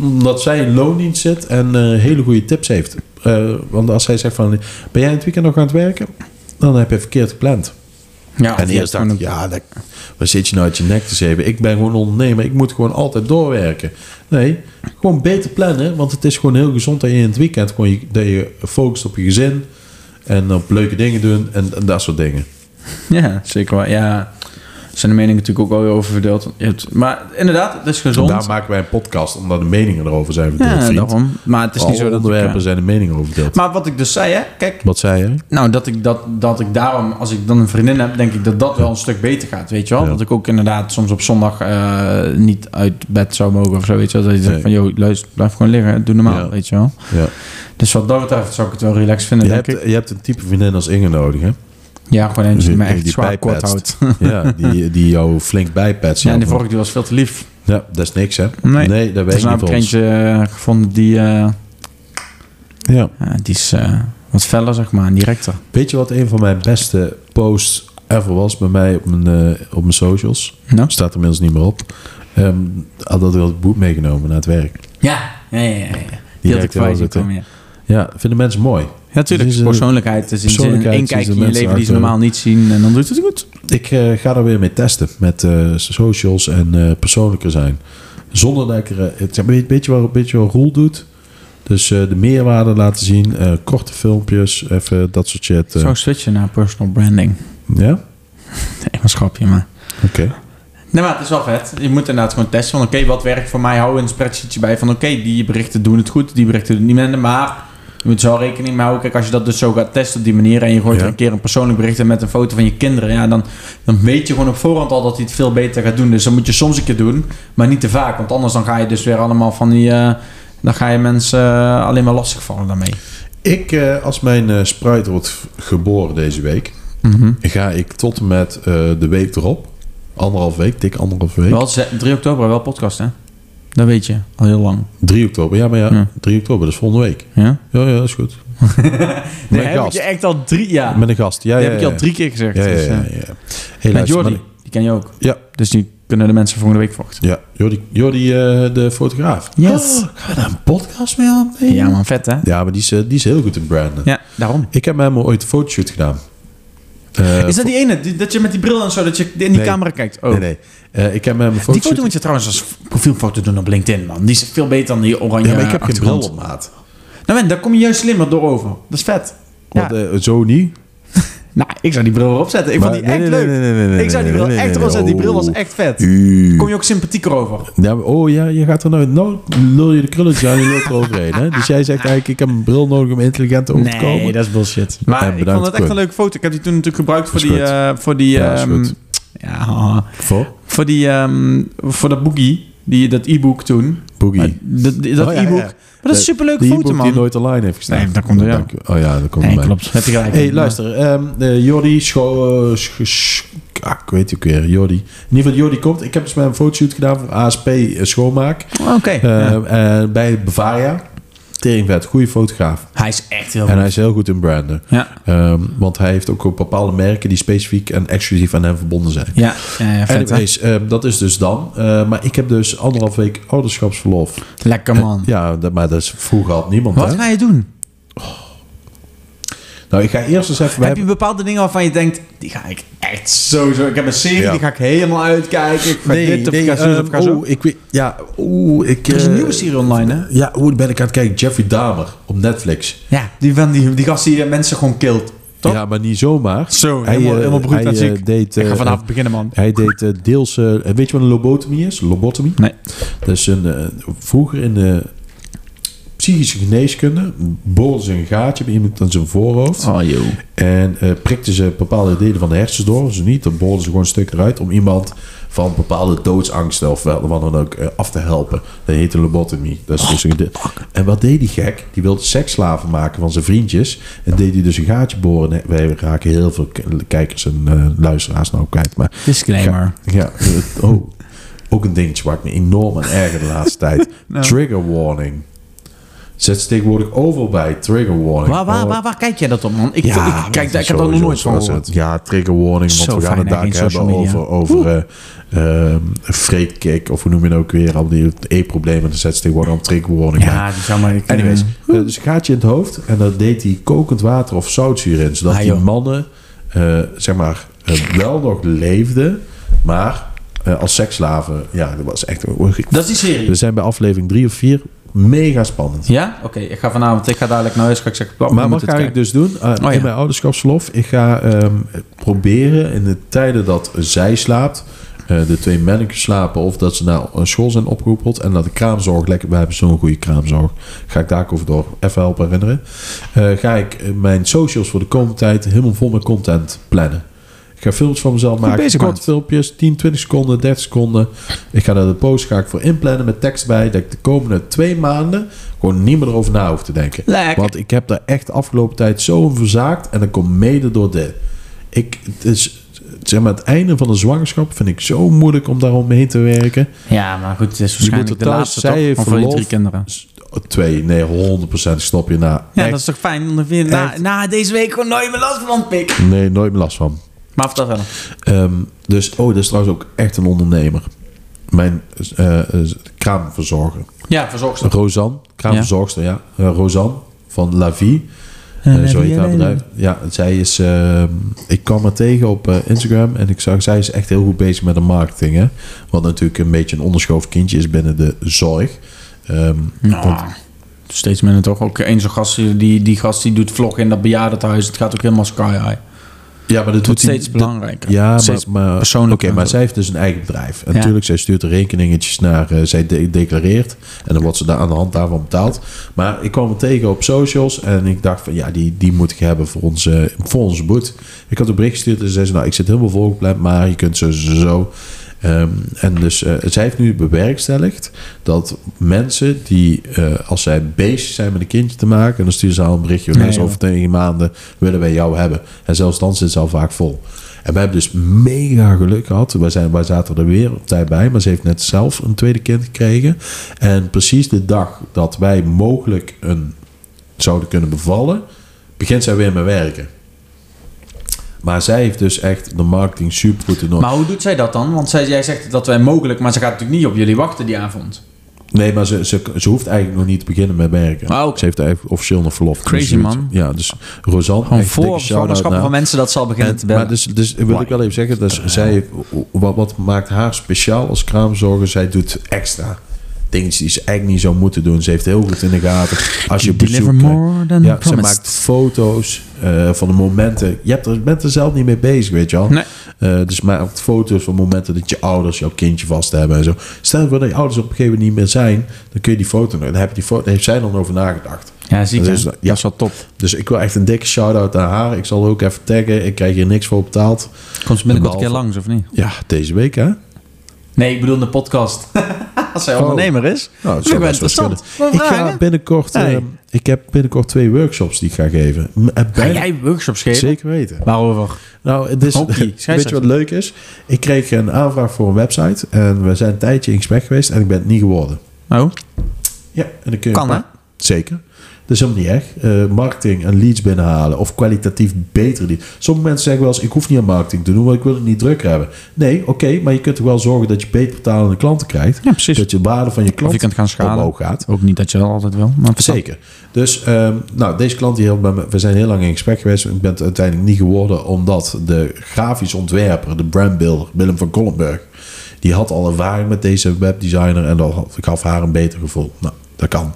S2: omdat zij in loondienst zit en eh, hele goede tips heeft. Eh, want als zij zegt van, ben jij het weekend nog aan het werken? Dan heb je verkeerd gepland.
S1: Ja,
S2: En
S1: of je
S2: eerst
S1: hebt
S2: dacht ik,
S1: gewoon
S2: ja, dat, waar zit je nou uit je nek te zeven? Ik ben gewoon ondernemer, ik moet gewoon altijd doorwerken. Nee, gewoon beter plannen, want het is gewoon heel gezond dat je in het weekend gewoon je, dat je focust op je gezin en op leuke dingen doen en, en dat soort dingen.
S1: een- ja, zeker wel. Ja, zijn de meningen natuurlijk ook wel weer over verdeeld. Je hebt- Maar inderdaad, het is gezond.
S2: Daar maken wij een podcast, omdat de meningen erover zijn verdeeld,
S1: ja,
S2: vriend.
S1: daarom. Maar het is
S2: Alle
S1: niet zo dat... ik,
S2: onderwerpen zijn de meningen over verdeeld.
S1: eh, Maar wat ik dus zei, hè. Kijk,
S2: Wat zei je?
S1: nou, dat ik, dat, dat ik daarom... Als ik dan een vriendin heb, denk ik dat dat wel een stuk beter gaat, weet je wel.
S2: Ja.
S1: Dat ik ook inderdaad soms op zondag eh, niet uit bed zou mogen of zo, weet je wel. Dat je zegt
S2: Nee.
S1: van, joh, luister, blijf gewoon liggen. Doe normaal,
S2: Ja.
S1: weet je wel.
S2: Ja.
S1: Dus wat dat betreft zou ik het wel relaxed vinden,
S2: Je,
S1: denk
S2: hebt,
S1: ik.
S2: je hebt een type vriendin als Inge nodig, hè?
S1: Ja, gewoon eentje die me echt
S2: Die
S1: zwaar kort
S2: bijpetst.
S1: houdt.
S2: Ja, die, die jou flink bijpetst.
S1: Ja, en die vorige die was veel te lief. Dus
S2: Ja, dat is niks, hè?
S1: Nee.
S2: dat
S1: Er
S2: weet
S1: is
S2: ik
S1: namelijk
S2: niet van ons.
S1: eentje eh, gevonden die, eh,
S2: Ja.
S1: ja, die is eh, wat feller, zeg maar, en directer.
S2: Weet je wat een van mijn beste posts ever was bij mij op mijn, eh, op mijn socials?
S1: Nou?
S2: Staat er inmiddels niet meer op. Ehm had dat wel het boek meegenomen naar het werk.
S1: Ja, ja, ja. ja, Die had ik
S2: directe
S1: voorbij zien
S2: voorzitter.
S1: komen, ja.
S2: Ja, vinden mensen mooi.
S1: Ja, tuurlijk.
S2: Dus is, eh,
S1: persoonlijkheid. Dus in zin,
S2: persoonlijkheid
S1: één kijk
S2: zien
S1: in
S2: ze
S1: je
S2: mensen
S1: leven die ze
S2: uit, eh,
S1: normaal niet zien en dan doet het goed.
S2: Ik eh, ga daar weer mee testen met eh, socials en eh, persoonlijker zijn. Zonder dat ik er... eh, het, weet, weet je wat, weet je wat Roel doet? Dus eh, de meerwaarde laten zien. eh, korte filmpjes, even dat soort shit. eh.
S1: Zou ik switchen naar personal branding.
S2: Ja?
S1: Nee, maar schapje, maar...
S2: Oké.
S1: Nee, maar het is wel vet. Je moet inderdaad gewoon testen van... Oké, wat werkt voor mij? Hou een spreadsheetje bij van... Oké, die berichten doen het goed. Die berichten doen het niet minder. Maar je moet zo rekening mee houden. Kijk, als je dat dus zo gaat testen op die manier... en je gooit
S2: Ja.
S1: er een keer een persoonlijk bericht in met een foto van je kinderen... ja, dan, dan weet je gewoon op voorhand al dat hij het veel beter gaat doen. Dus dan moet je soms een keer doen, maar niet te vaak. Want anders dan ga je dus weer allemaal van die... eh, dan ga je mensen eh, alleen maar lastigvallen daarmee.
S2: Ik, eh, als mijn eh, spruit wordt v- geboren deze week... ga ik tot en met eh, de week erop. Anderhalf week, dik anderhalf week.
S1: Wel, ze- 3 oktober, wel podcast, hè? Dat weet je, al heel lang.
S2: 3 oktober, ja, maar ja,
S1: Ja.
S2: 3 oktober, dat is volgende week.
S1: Ja?
S2: Ja, ja, dat is goed.
S1: Nee,
S2: Met een
S1: heb ik
S2: gast.
S1: je echt al drie... Ja,
S2: Met een gast. Ja,
S1: dat
S2: ja,
S1: heb ik
S2: ja,
S1: je al drie keer gezegd.
S2: Ja, ja,
S1: dus, eh,
S2: ja. ja. Hey,
S1: Met
S2: luister,
S1: Jordi,
S2: maar-
S1: die ken je ook.
S2: Ja.
S1: Dus die kunnen de mensen volgende week wachten.
S2: Ja, Jordi, Jordi eh, de fotograaf.
S1: Yes.
S2: Oh, gaan we daar een podcast mee aan?
S1: Ja man, vet hè?
S2: Ja, maar die is, eh, die is heel goed in branden.
S1: Ja, daarom.
S2: Ik heb met hem ooit een fotoshoot gedaan. Eh,
S1: Is dat die ene, die- dat je met die bril en zo, dat je in die
S2: Nee.
S1: camera kijkt? Oh.
S2: Nee, nee. Eh, ik heb met hem een
S1: Die
S2: fotoshoot...
S1: foto moet je trouwens als profielfoto doen op LinkedIn, man. Die is veel beter dan die oranje
S2: Ja, maar ik heb geen bril
S1: achtergrond.
S2: op, eh? maat.
S1: Nou, man, daar kom je juist slimmer door over. Dat is vet. Ja.
S2: Want, eh, zo niet.
S1: Nou, ik zou die bril erop zetten. Ik
S2: Maar-
S1: vond die
S2: nee,
S1: echt
S2: nee,
S1: leuk.
S2: nee, nee, nee, nee,
S1: ik zou die
S2: nee,
S1: bril
S2: nee,
S1: echt
S2: nee,
S1: erop zetten. Die
S2: nee.
S1: bril was echt vet.
S2: U.
S1: Kom je ook sympathieker over.
S2: Ja, maar- oh ja, je gaat er nou... Nou lul je de krulletjes aan en je lult eroverheen. Hè? Dus jij zegt eigenlijk, ik heb een bril nodig om intelligent over te komen.
S1: dat is bullshit.
S2: Ja,
S1: Maar ik
S2: bedankt,
S1: vond het echt
S2: Cor.
S1: een leuke foto. Ik heb die toen natuurlijk gebruikt voor
S2: Is
S1: die...
S2: goed.
S1: eh, voor die
S2: Ja, is
S1: ehm,
S2: goed.
S1: ja, haha.
S2: Voor?
S1: voor die... ehm, voor dat boogie. Die, dat e-book toen.
S2: Boogie.
S1: Maar Dat, dat
S2: Oh, ja,
S1: e-book.
S2: ja.
S1: Maar dat is een superleuke
S2: die
S1: foto,
S2: e-book
S1: man.
S2: die nooit online heeft gestaan.
S1: Nee, dat komt er, ja.
S2: Dank je. Oh ja, dat komt
S1: Nee,
S2: erbij.
S1: klopt. Heb je gelijk.
S2: hey, luister. ehm eh, Jordi Scho... eh, Sch- Sch- ah, ik weet het ook weer. Jordi. In ieder geval, Jordi komt. Ik heb dus met een fotoshoot gedaan voor ASP eh, Schoonmaak.
S1: Oké. ja.
S2: Eh, eh, bij Bavaria. Teringvet. Goede fotograaf.
S1: Hij is echt heel
S2: En
S1: goed.
S2: hij is heel goed in branden.
S1: Oh. Ja.
S2: Ehm, want hij heeft ook op bepaalde merken die specifiek en exclusief aan hem verbonden zijn.
S1: Ja, eh, vet hè?
S2: Anyways, ehm, dat is dus dan. Eh, maar ik heb dus anderhalf week ouderschapsverlof.
S1: Lekker man.
S2: Ja, dat, maar dat is vroeger had niemand.
S1: Wat
S2: hè?
S1: ga je doen?
S2: Nou, ik ga eerst eens even... we
S1: Heb je bepaalde dingen waarvan je denkt, die ga ik echt sowieso... Ik heb een serie,
S2: Ja.
S1: die ga ik helemaal uitkijken. Ik ga dit of ik ga zo of ik ga
S2: ehm,
S1: zo.
S2: oeh, ik weet... Ja, oeh, ik...
S1: Er is een
S2: eh,
S1: nieuwe serie online, hè?
S2: Ja, hoe ben ik aan het kijken? Jeffrey Dahmer op Netflix.
S1: Ja, die, van die, die gast die eh, mensen gewoon killt. Toch?
S2: Ja, maar niet zomaar.
S1: Zo,
S2: Hij,
S1: helemaal,
S2: eh,
S1: helemaal broed
S2: hij,
S1: en
S2: eh,
S1: ziek.
S2: deed,
S1: ik ga
S2: eh,
S1: vanavond beginnen, man.
S2: Hij deed eh, deels... eh, weet je wat een lobotomie is? Lobotomie?
S1: Nee.
S2: Dat is een... eh, vroeger in de psychische geneeskunde... boorden ze een gaatje bij iemand aan zijn voorhoofd...
S1: Oh, joh.
S2: En eh, prikten ze bepaalde delen van de hersens door, ze niet, dan boorden ze gewoon een stuk eruit om iemand van bepaalde doodsangsten of wel- wat dan ook eh, af te helpen. Dat heet een lobotomie. Dat is
S1: Oh,
S2: dus een gede- en wat deed die gek? Die wilde seksslaven maken van zijn vriendjes. En deed hij dus een gaatje boren. Nee, Wij raken heel veel k- kijkers en eh, luisteraars nou kwijt. Maar
S1: Disclaimer.
S2: ja, eh, oh, ook een dingetje waar ik me enorm aan erger de laatste tijd.
S1: Nou.
S2: Trigger warning. Zet ze tegenwoordig overal bij. Trigger warning.
S1: Waar, waar,
S2: Oh,
S1: waar, waar kijk jij dat op, man? Ik, ik, kijk, daar- ik heb daar
S2: dat
S1: nog nooit van gehoord.
S2: Ja, trigger warning, want
S1: Zo
S2: we gaan
S1: fijn,
S2: het
S1: hè,
S2: daar
S1: geen
S2: hebben
S1: social media.
S2: over, over eh ehm freightkick of hoe noem je het ook weer, al die e-problemen, dan zet ze tegenwoordig al trigger warning bij.
S1: Ja, die zou maar... ik, eh,
S2: Anyways, eh, dus gaatje in het hoofd en dan deed hij kokend water of zoutzuur in, zodat
S1: Ah,
S2: die
S1: joh.
S2: mannen, eh, zeg maar, eh, wel nog leefden, maar eh, als seksslaven, ja, dat was echt...
S1: Dat is die serie.
S2: We zijn bij aflevering drie of vier, mega spannend.
S1: Ja? Oké, ik ga vanavond... Ik ga dadelijk naar huis. Ga ik zeggen... plan,
S2: Maar
S1: we
S2: wat
S1: moeten
S2: ga
S1: het Oh,
S2: ik dus doen? Eh,
S1: ja.
S2: In mijn ouderschapsverlof. Ik ga ehm, proberen in de tijden dat zij slaapt, eh, de twee mannetjes slapen of dat ze naar een school zijn opgeroepeld en dat de kraamzorg lekker, we hebben zo'n goede kraamzorg, ga ik daar ook over door even helpen herinneren. Eh, ga ik eh, mijn socials voor de komende tijd helemaal vol met content plannen. Ik ga filmpjes van mezelf maken.
S1: bezig,
S2: kort
S1: man.
S2: filmpjes, 10, 20 seconden, 30 seconden. Ik ga daar de post ga ik voor inplannen met tekst bij. Dat ik de komende twee maanden gewoon niet meer erover na hoef te denken.
S1: Lekker.
S2: Want ik heb daar echt de afgelopen tijd zo om verzaakt. En dat komt mede door dit. Ik, het is, zeg maar, het einde van de zwangerschap vind ik zo moeilijk om daarom mee te werken.
S1: Ja, maar goed, het is
S2: moet
S1: waarschijnlijk de
S2: het thuis-
S1: laatste
S2: zij
S1: toch?
S2: heeft
S1: Van voor die drie
S2: verlof.
S1: kinderen.
S2: S- Dus, oh, Twee, nee, 100% snap je na.
S1: Ja,
S2: Echt,
S1: dat is toch fijn? Dan vind je na,
S2: Echt.
S1: na deze week gewoon nooit meer last van pik.
S2: Nee, nooit meer last van.
S1: Maar vertel verder.
S2: Ehm, dus, oh, dat is trouwens ook echt een ondernemer. Mijn eh, eh, kraamverzorger.
S1: Ja, verzorgster.
S2: Rosan, kraamverzorgster, ja. Eh, Rosan van La Vie.
S1: Eh,
S2: Eh,
S1: La
S2: zo
S1: Vie
S2: heet haar
S1: alleen.
S2: bedrijf. Ja, zij is... ehm, ik kwam haar tegen op eh, Instagram en ik zag... Zij is echt heel goed bezig met de marketing, hè. Wat natuurlijk een beetje een onderschoof kindje is binnen de zorg. Ehm, want-
S1: Nou, steeds minder toch? Ook één zo'n gast, die- die, die gast die doet vloggen in dat bejaardentehuis. Het gaat ook helemaal sky high. Het
S2: ja, maar dat doet
S1: wordt
S2: die-
S1: steeds
S2: dat-
S1: belangrijker.
S2: Ja,
S1: Steeds
S2: maar, maar
S1: persoonlijker
S2: Oké, maar
S1: natuurlijk.
S2: zij heeft dus een eigen bedrijf. En
S1: Ja.
S2: natuurlijk, zij stuurt de rekeningetjes naar, eh, zij de- declareert en dan wordt ze daar aan de hand daarvan betaald. Maar ik kwam hem tegen op socials en ik dacht van ja, die, die moet ik hebben voor onze, voor onze boet. Ik had een bericht gestuurd en zei ze, nou, ik zit helemaal volgepland, maar je kunt zo, zo, zo. Ehm, en dus eh, zij heeft nu bewerkstelligd dat mensen die, eh, als zij bezig zijn met een kindje te maken, en dan sturen ze al een berichtje,
S1: Nee,
S2: nee,
S1: joh.
S2: over tegen maanden willen wij jou hebben. En zelfs dan zit ze al vaak vol. En wij hebben dus mega geluk gehad. Wij, zijn, wij zaten er weer op tijd bij. Maar ze heeft net zelf een tweede kind gekregen. En precies de dag dat wij mogelijk een zouden kunnen bevallen, begint zij weer met werken. Maar zij heeft dus echt de marketing super goed in orde.
S1: Maar hoe doet zij dat dan? Want zij, jij zegt dat wij mogelijk, maar ze gaat natuurlijk niet op jullie wachten die avond.
S2: Nee, maar ze, ze, ze hoeft eigenlijk nog niet te beginnen met werken.
S1: Ah, oké.
S2: Ze heeft eigenlijk officieel nog verlof.
S1: Crazy,
S2: Dus,
S1: man.
S2: Ja, dus Rosanne.
S1: Gewoon
S2: echt dikke
S1: voor
S2: shout-out
S1: zwangerschappen
S2: naar-
S1: van mensen dat zal beginnen te
S2: En- maar
S1: bellen.
S2: dus, dus wil ik wel even
S1: Eh,
S2: zeggen, dus zij, wat, wat maakt haar speciaal als kraamzorger? Zij doet extra. dingetjes die ze eigenlijk niet zou moeten doen. Ze heeft heel goed in de gaten. Als je
S1: Deliver
S2: bezoek krijgt.
S1: more than
S2: Ja, ze
S1: promised.
S2: maakt foto's eh, van de momenten. Je hebt er, bent er zelf niet mee bezig, weet je wel.
S1: Nee.
S2: Eh, dus maakt foto's van momenten dat je ouders jouw kindje vast hebben en zo. Stel voor dat je ouders op een gegeven moment niet meer zijn, dan kun je die foto nog. Dan heb je die foto, daar heeft zij dan over nagedacht.
S1: Ja, zie ik.
S2: Dat is-
S1: ja.
S2: ja.
S1: dus- Dat is wel top.
S2: Dus ik wil echt een dikke shout-out aan haar. Ik zal haar ook even taggen. Ik krijg hier niks voor betaald.
S1: Komt ze binnenkort een keer
S2: Behalve-
S1: langs, of niet?
S2: Ja, deze week hè? Nou,
S1: Nee, ik bedoel de podcast. Als zij
S2: Oh.
S1: ondernemer is.
S2: Nou, dat
S1: Vind ik
S2: zou
S1: wel
S2: best wel
S1: interessant.
S2: kunnen.
S1: Wat
S2: Ik eh, ga
S1: vragen?
S2: binnenkort,
S1: Hey.
S2: ehm, ik heb binnenkort twee workshops die ik ga geven. M- eh,
S1: Ga
S2: bijna-
S1: jij workshops geven?
S2: Zeker weten.
S1: Waarover?
S2: Nou, het is,
S1: Hockey,
S2: weet je
S1: scheidsrechter.
S2: wat leuk is? Ik kreeg een aanvraag voor een website en we zijn een tijdje in gesprek geweest en ik ben het niet geworden.
S1: Oh,
S2: Ja, en dan kun je
S1: kan hè?
S2: Zeker. Dat is helemaal niet erg. Eh, marketing en leads binnenhalen of kwalitatief betere leads. Sommige mensen zeggen wel eens, ik hoef niet aan marketing te doen, want ik wil het niet druk hebben. Nee, oké, maar je kunt toch wel zorgen dat je beter betalende klanten krijgt.
S1: Ja, precies.
S2: Dat je waarde van je
S1: Of je
S2: klant
S1: kunt gaan schalen.
S2: omhoog gaat.
S1: Ook niet dat je dat altijd wil. Maar vertel.
S2: Zeker. Dus ehm, nou, deze klant die heel bij me, we zijn heel lang in gesprek geweest. Ik ben het uiteindelijk niet geworden omdat de grafisch ontwerper, de brandbuilder Willem van Kollenberg, die had al ervaring met deze webdesigner en dat had- gaf haar een beter gevoel. Nou, dat kan.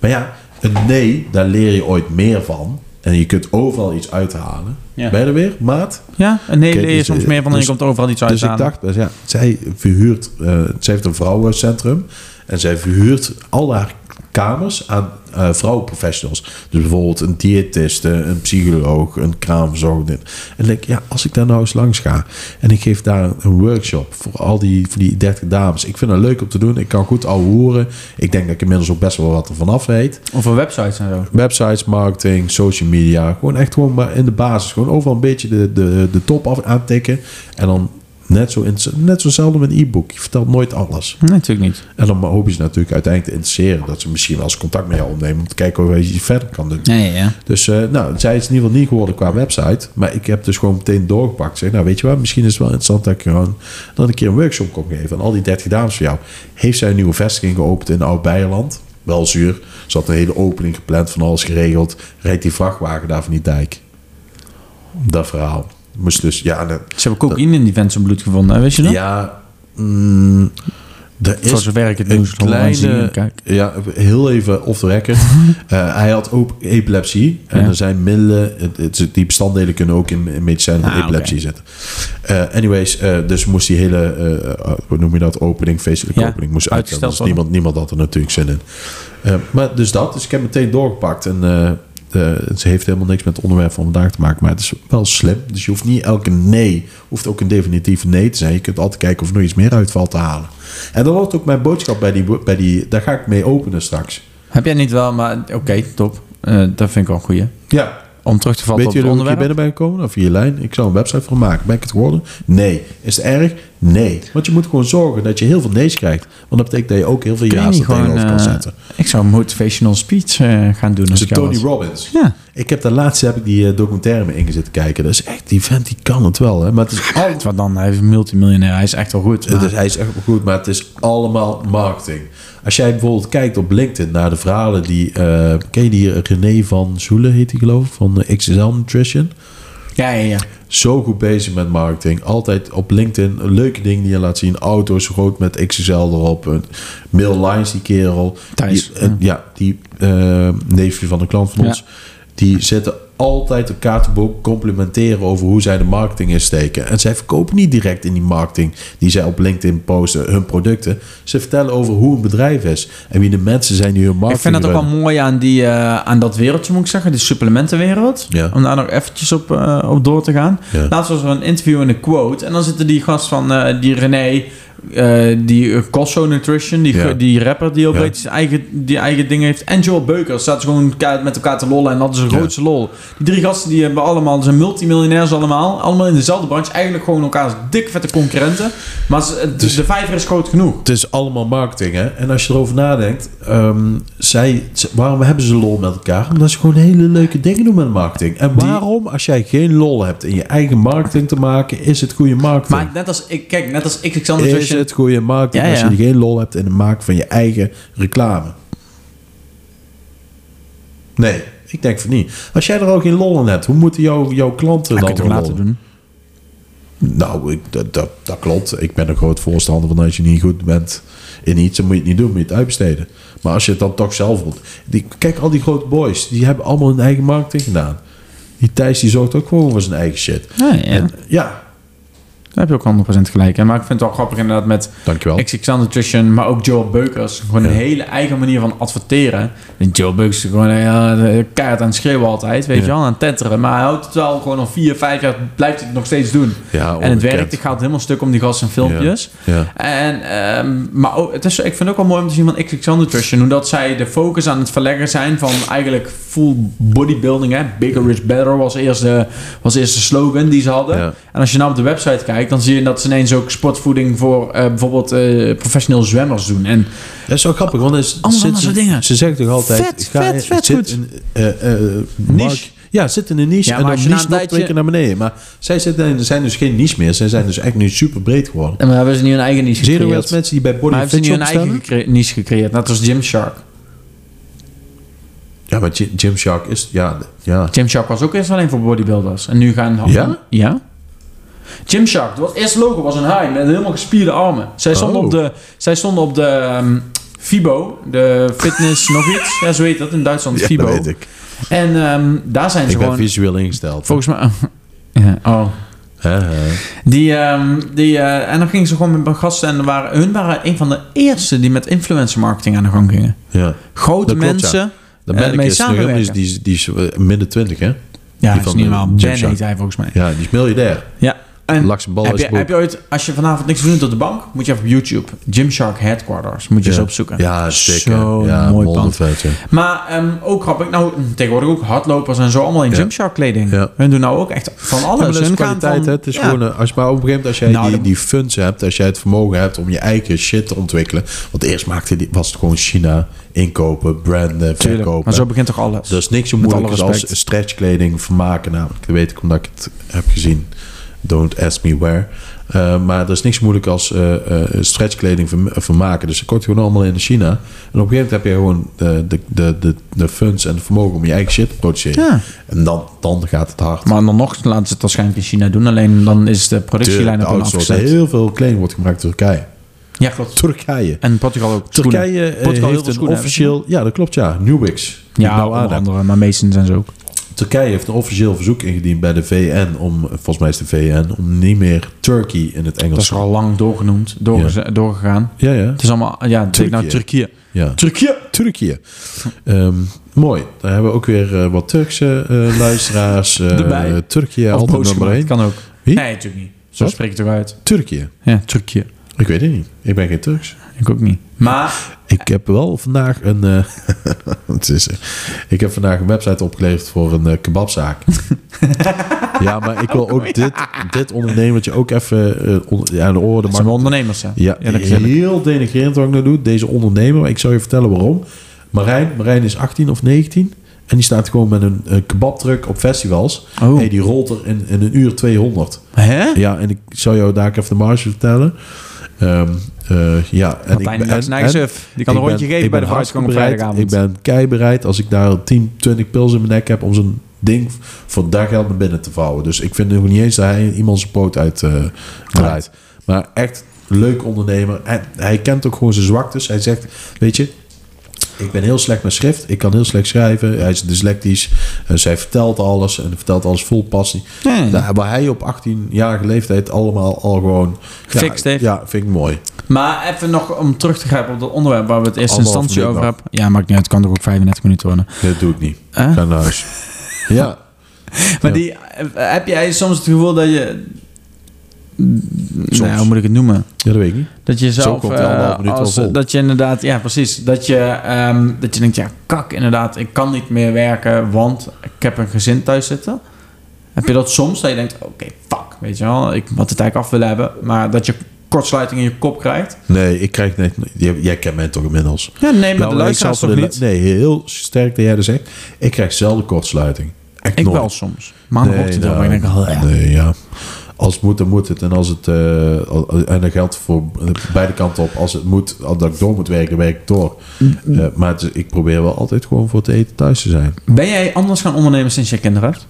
S2: Maar ja, een nee, daar leer je ooit meer van. En je kunt overal iets uithalen.
S1: Ja.
S2: Ben je er weer, maat?
S1: Ja, een hele
S2: Oké,
S1: leer je
S2: dus,
S1: soms
S2: eh,
S1: meer van en je
S2: dus-
S1: komt overal iets uit
S2: Dus ik dacht, dus ja, zij verhuurt, eh, zij heeft een vrouwencentrum en zij verhuurt al haar kamers aan eh vrouwenprofessionals. Dus bijvoorbeeld een diëtiste, een psycholoog, een kraamverzorger. En dan denk ik, ja, als ik daar nou eens langs ga en ik geef daar een workshop voor al die, voor die 30 dames. Ik vind het leuk om te doen. Ik kan goed ouwe horen. Ik denk dat ik inmiddels ook best wel wat ervan af weet.
S1: Of een website en zo.
S2: Websites, marketing, social media. Gewoon echt gewoon maar in de basis. Gewoon overal een beetje de, de, de top af, aantikken. En dan net zo, in- net zo zelden met een e-book. Je vertelt nooit alles.
S1: Nee, natuurlijk niet.
S2: En dan hoop je ze natuurlijk uiteindelijk te interesseren. Dat ze misschien wel eens contact met jou opnemen. Om te kijken hoe je iets verder kan doen.
S1: Nee, ja.
S2: Dus eh, nou, zij is in ieder geval niet geworden qua website. Maar ik heb dus gewoon meteen doorgepakt. Ik Zeg, nou weet je wat, misschien is het wel interessant dat ik gewoon dan een keer een workshop kom geven. En al die 30 dames van jou. Heeft zij een nieuwe vestiging geopend in Oud-Beijerland? Wel zuur. Ze had een hele opening gepland, van alles geregeld. Rijdt die vrachtwagen daar van die dijk. Dat verhaal. Moest dus, ja, en,
S1: Ze hebben cocaïne in die vent zijn bloed gevonden, hè, weet je
S2: eh,
S1: dat?
S2: ja mm, er
S1: Voor
S2: is
S1: zover ik het
S2: een
S1: nieuws nog
S2: kleine-
S1: zien. Kijk.
S2: ja, heel even off the record. Eh, hij had ook epilepsie. En
S1: Ja.
S2: er zijn middelen, het, het- die bestanddelen kunnen ook in, in medicijnen van
S1: Ah,
S2: epilepsie zitten. Eh, anyways, eh, dus moest die hele, eh, eh, hoe noem je dat, opening, feestelijke
S1: Ja,
S2: opening, moest
S1: uitgesteld
S2: uitstellen. Dus
S1: worden.
S2: niemand, niemand had er natuurlijk zin in. Eh, maar dus dat, dus ik heb meteen doorgepakt. En eh, eh, ze heeft helemaal niks met het onderwerp van vandaag te maken. Maar het is wel slim. Dus je hoeft niet elke nee, hoeft ook een definitieve nee te zijn. Je kunt altijd kijken of er nog iets meer uitvalt te halen. En dat wordt ook mijn boodschap bij die, bij die daar ga ik mee openen straks.
S1: Heb jij niet wel, maar oké, top. Eh, dat vind ik wel een goeie.
S2: Ja,
S1: Om terug te vatten
S2: Weet
S1: op het
S2: jullie hoe
S1: onderwerp.
S2: ik hier binnen ben gekomen? Of je lijn? Ik zou een website voor maken. Ben ik het geworden? Nee. Is het erg? Nee. Want je moet gewoon zorgen dat je heel veel nee's krijgt. Want dat betekent dat je ook heel veel
S1: Kun je
S2: ja's
S1: niet
S2: er
S1: gewoon,
S2: tegenover kan
S1: eh,
S2: zetten.
S1: ik zou een motivational speech eh, gaan doen.
S2: Dus
S1: Als
S2: de
S1: ik jou
S2: Tony
S1: was.
S2: Robbins.
S1: Ja.
S2: Ik heb daar laatst heb ik die eh, documentaire mee ingezitten kijken. Dat is echt, die vent die kan het wel. Hè? Maar het is al,
S1: Wat dan? Hij is een multimiljonair. Hij is echt wel goed. maar-
S2: Dus hij is echt goed, maar het is allemaal marketing. Als jij bijvoorbeeld kijkt op LinkedIn naar de verhalen die... eh, ken je die René van Zoelen heet die geloof ik? Van eh, XXL Nutrition.
S1: ja, ja, ja.
S2: zo goed bezig met marketing. Altijd op LinkedIn leuke dingen die je laat zien. Auto's groot met XXL erop. Een Mail lines die kerel.
S1: Thijs,
S2: Die, eh,
S1: ja.
S2: ja, die eh, neefje van een klant van
S1: Ja.
S2: ons. Die zetten altijd elkaar te boek complimenteren over hoe zij de marketing insteken. En zij verkopen niet direct in die marketing die zij op LinkedIn posten hun producten. Ze vertellen over hoe een bedrijf is en wie de mensen zijn die hun
S1: Ik
S2: marketing
S1: vind dat ook wel
S2: runnen.
S1: mooi aan, die, eh, aan dat wereldje, moet ik zeggen. De supplementenwereld.
S2: Ja.
S1: Om daar nog eventjes op, eh, op door te gaan.
S2: Ja.
S1: Laatst was er een interview en een quote. En dan zitten die gast van eh, die René... eh, die eh, Cosso Nutrition, die,
S2: Ja.
S1: die rapper die ook
S2: Ja.
S1: weet zijn eigen, die eigen dingen heeft. En Joel Beuker staat gewoon ka- met elkaar te lollen en dat is een
S2: Ja.
S1: grootste lol. Die drie gasten die hebben allemaal, zijn multimiljonairs allemaal, allemaal in dezelfde branche. Eigenlijk gewoon elkaars dik vette concurrenten. Maar ze- het-
S2: Dus-
S1: de vijver is groot genoeg.
S2: Het is allemaal marketing, hè? En als je erover nadenkt, ehm, zij, ze- waarom hebben ze lol met elkaar? Omdat ze gewoon hele leuke dingen doen met marketing. En waarom, als jij geen lol hebt in je eigen marketing te maken, is het goede marketing?
S1: Maar net als ik, kijk, net als ik, ik
S2: eh, is het goede marketing
S1: Ja,
S2: als
S1: ja.
S2: je geen lol hebt in het maken van je eigen reclame? Nee, ik denk van niet. Als jij er ook geen lol in hebt, hoe moeten jou, jouw klanten
S1: Ik
S2: dan
S1: kan het
S2: wel
S1: laten
S2: lol?
S1: doen.
S2: Nou, ik, dat, dat, dat klopt. Ik ben een groot voorstander van als je niet goed bent in iets, dan moet je het niet doen, moet je het uitbesteden. Maar als je het dan toch zelf wilt. Die, kijk, al die grote boys, die hebben allemaal hun eigen marketing gedaan. Die Thijs die zorgt ook gewoon voor zijn eigen shit.
S1: Nee, ja.
S2: En, ja,
S1: Daar heb je ook 100% gelijk. En Maar ik vind het wel grappig inderdaad met
S2: dankjewel.
S1: XXL Nutrition, maar ook Joel Beukers. Gewoon een
S2: Ja.
S1: hele eigen manier van adverteren. En Joel Beukers is gewoon eh, eh, keihard aan het schreeuwen altijd, weet
S2: Ja.
S1: je wel, aan het tetteren. Maar hij houdt het wel gewoon al vier, vijf jaar, blijft hij het nog steeds doen.
S2: ja,
S1: en het
S2: onbekend.
S1: werkt, ik ga het helemaal stuk om die gasten en filmpjes.
S2: Ja.
S1: En, ehm, maar ook, het is, ik vind het ook wel mooi om te zien van XXL Nutrition. Hoe dat zij de focus aan het verleggen zijn van eigenlijk full bodybuilding. Hè? Bigger is better was eerst, de, was eerst de slogan die ze hadden.
S2: Ja.
S1: En als je nou op de website kijkt, dan zie je dat ze ineens ook sportvoeding voor eh, bijvoorbeeld eh professioneel zwemmers doen. En
S2: Dat is zo grappig, want het is-
S1: Allemaal
S2: zit-
S1: van dat soort dingen.
S2: Ze zegt toch altijd:
S1: Vet, vet, vet
S2: zit
S1: goed.
S2: In, eh, eh, mark- ja, zit in een niche
S1: Ja, maar
S2: en dan
S1: als je na
S2: niche
S1: een
S2: nog
S1: tijdje-
S2: twee keer naar beneden. Maar zij zitten in, er zijn dus geen niche meer. Zij zijn dus echt nu super breed geworden.
S1: maar hebben ze nu een eigen niche
S2: Zie je nog wel eens mensen die bij Body
S1: Maar hebben ze
S2: Fit
S1: nu
S2: Shop
S1: een eigen
S2: bestellen?
S1: gecre- niche gecreëerd, net als Gymshark.
S2: Ja, maar Gy- Gymshark is... Ja, ja.
S1: Gymshark was ook eerst alleen voor bodybuilders. En nu gaan...
S2: Ja?
S1: Ja. Gymshark, het was- eerste logo was een haai met helemaal gespierde armen. Zij stonden
S2: Oh.
S1: op de, zij stonden op de ehm, FIBO, de fitness nog iets. Ja, zo heet dat in Duitsland,
S2: ja
S1: FIBO.
S2: dat weet ik.
S1: En ehm, daar zijn ze
S2: Ik ben
S1: gewoon,
S2: visueel ingesteld.
S1: volgens mij... ja, oh.
S2: Hè, hè.
S1: Die, ehm, die, eh, en dan gingen ze gewoon met mijn gasten en er waren, hun waren een van de eerste die met influencer marketing aan de gang gingen.
S2: Ja.
S1: Grote
S2: Dat klopt, ja.
S1: mensen.
S2: De
S1: Eh, mee
S2: manneke is nog helemaal
S1: samenwerken.
S2: niet- die, die is eh, midden twintig, hè?
S1: Ja,
S2: Die
S1: dat is
S2: van
S1: niet
S2: de
S1: normaal. Ben
S2: Gymshark.
S1: heet hij volgens mij.
S2: Ja, die is miljardair.
S1: Ja. En
S2: Lakse bal
S1: Heb
S2: is
S1: je, heb je ooit, als je vanavond niks te doen tot de bank, moet je even op YouTube Gymshark Headquarters moet je eens opzoeken.
S2: Ja, stikken.
S1: Zo'n
S2: ja,
S1: mooi
S2: mooi
S1: pand.
S2: vet, ja.
S1: Maar ehm, ook grappig, nou tegenwoordig ook hardlopers en zo allemaal in
S2: Ja.
S1: Gymshark kleding.
S2: Ja.
S1: Hun doen nou ook echt van
S2: Ja, maar
S1: alles.
S2: dat is
S1: Hun gaan
S2: kwaliteit,
S1: van-
S2: hè? Het is
S1: ja.
S2: gewoon, eh, als, maar op een gegeven moment als jij
S1: Nou,
S2: die,
S1: dan-
S2: die funds hebt, als jij het vermogen hebt om je eigen shit te ontwikkelen. Want eerst maakte die, was het gewoon China, inkopen, branden,
S1: Tuurlijk,
S2: verkopen. Dus-
S1: maar zo begint toch alles.
S2: Er is niks zo
S1: Met alle
S2: moeilijk als
S1: respect.
S2: stretchkleding vermaken. Namelijk, dat weet ik omdat ik het heb gezien. Don't ask me where. Eh, maar er is niks zo moeilijk als eh, eh, stretchkleding verm- vermaken. Dus dat kort gewoon allemaal in China. En op een gegeven moment heb je gewoon de, de, de, de, de funds en het vermogen om je eigen shit te produceren.
S1: Ja.
S2: En dan, dan gaat het hard.
S1: Maar dan nog laten ze het waarschijnlijk in China doen. Alleen dan is de productielijn
S2: De
S1: op een
S2: outsource.
S1: afgezet.
S2: Heel veel kleding wordt gemaakt door Turkije.
S1: Ja, klopt.
S2: Turkije.
S1: En Portugal ook. Schoenen.
S2: Turkije eh,
S1: Portugal heel veel
S2: heeft een
S1: schoenen,
S2: officieel... Ja, dat klopt, ja. Newix. die
S1: Ja,
S2: nou aan
S1: onder
S2: hebt.
S1: andere. Maar Masons en zo ook.
S2: Turkije heeft een officieel verzoek ingediend bij de VN om... Volgens mij is de VN om niet meer Turkey in het
S1: Dat
S2: Engels...
S1: is er al lang doorgenoemd. doorge- Doorgegaan.
S2: Ja, ja.
S1: Het is allemaal... Ja, het is nou Turkije.
S2: ja.
S1: Turkije!
S2: Turkije. Ehm, mooi. Daar hebben we ook weer eh, wat Turkse eh, luisteraars. eh,
S1: Erbij.
S2: Turkije,
S1: Of
S2: altijd
S1: boos
S2: nummer
S1: gemaakt,
S2: één.
S1: Kan ook.
S2: Wie?
S1: Nee, natuurlijk niet. Zo
S2: Wat?
S1: spreek ik het eruit.
S2: Turkije.
S1: Ja, Turkije.
S2: Ik weet het niet. Ik ben geen Turks.
S1: Ik ook niet. Maar
S2: Ik heb wel vandaag een. eh, het is, ik heb vandaag een website opgeleverd voor een eh, kebabzaak. ja, maar ik wil ook dit, dit ondernemertje ook even eh, on- ja, aan de orde
S1: het zijn
S2: maken.
S1: wel ondernemers, hè?
S2: Ja,
S1: dat is eerlijk.
S2: heel denigrerend wat ik nou doe, deze ondernemer. Maar ik zal je vertellen waarom. Marijn, Marijn is 18 of 19 en die staat gewoon met een, een kebabtruck op festivals.
S1: Oh.
S2: Hey, die rolt er in, in een uur 200.
S1: Hè?
S2: Ja, en ik zal jou daar ook even de marge vertellen. Ehm, eh, ja, en
S1: Martijn
S2: ik
S1: die is een eigen suf. Die kan
S2: ik
S1: een rondje
S2: ben-
S1: geven
S2: ik
S1: bij de vooruitgang
S2: ben
S1: op
S2: hartstikke bereid.
S1: vrijdagavond.
S2: Ik ben keibereid als ik daar 10, 20 pils in mijn nek heb om zo'n ding voor dat geld naar binnen te vouwen. Dus ik vind het nog niet eens dat hij iemand zijn poot uit eh, draait. Maar echt leuk ondernemer. En hij kent ook gewoon zijn zwaktes. Hij zegt, weet je, ik ben heel slecht met schrift. Ik kan heel slecht schrijven. Hij is dyslectisch. Dus hij vertelt alles. En vertelt alles vol passie.
S1: Hmm.
S2: Nou, Waar hij op 18-jarige leeftijd allemaal al gewoon...
S1: Gefixt
S2: ja,
S1: heeft.
S2: Ja, vind ik mooi.
S1: Maar even nog om terug te grijpen op dat onderwerp waar we het eerste
S2: Anderhalve
S1: instantie
S2: minuut
S1: over hebben. Ja, maakt niet uit. Het kan toch ook 35 minuten worden.
S2: Dat doe ik niet.
S1: Hè?
S2: Ga naar huis. ja.
S1: Maar
S2: Ja.
S1: die, eh, heb jij soms het gevoel dat je... Nou, hoe moet ik het noemen?
S2: Ja, dat weet ik niet.
S1: Dat je zelf...
S2: komt die anderhalve
S1: eh,
S2: minuut wel
S1: als-
S2: vol.
S1: dat je inderdaad... Ja, precies. Dat je, ehm, dat je denkt, ja, kak inderdaad. Ik kan niet meer werken, want ik heb een gezin thuis zitten. Heb je dat soms? Dat je denkt, oké, fuck. Weet je wel, ik had het eigenlijk af willen hebben. Maar dat je kortsluiting in je kop krijgt.
S2: Nee, ik krijg net... Jij, jij kent mij toch inmiddels?
S1: Ja, nee, maar
S2: Nou,
S1: de
S2: ik
S1: luisteraars
S2: zal
S1: toch
S2: voor de
S1: niet?
S2: lu- Nee, heel sterk dat jij dat zegt. Ik krijg zelden kortsluiting. Echt
S1: Ik
S2: nooit.
S1: wel soms. Maandagochtend
S2: Nee,
S1: dan ben ik denk, oh, ja.
S2: Nee, ja. Als het moet, dan moet het. En als het... eh, al- en dat geldt voor beide kanten op. Als het moet, al dat ik door moet werken, werk ik door.
S1: Mm,
S2: Eh, maar het is- ik probeer wel altijd gewoon voor het eten thuis te zijn.
S1: Ben jij anders gaan ondernemen sinds je kinderen hebt?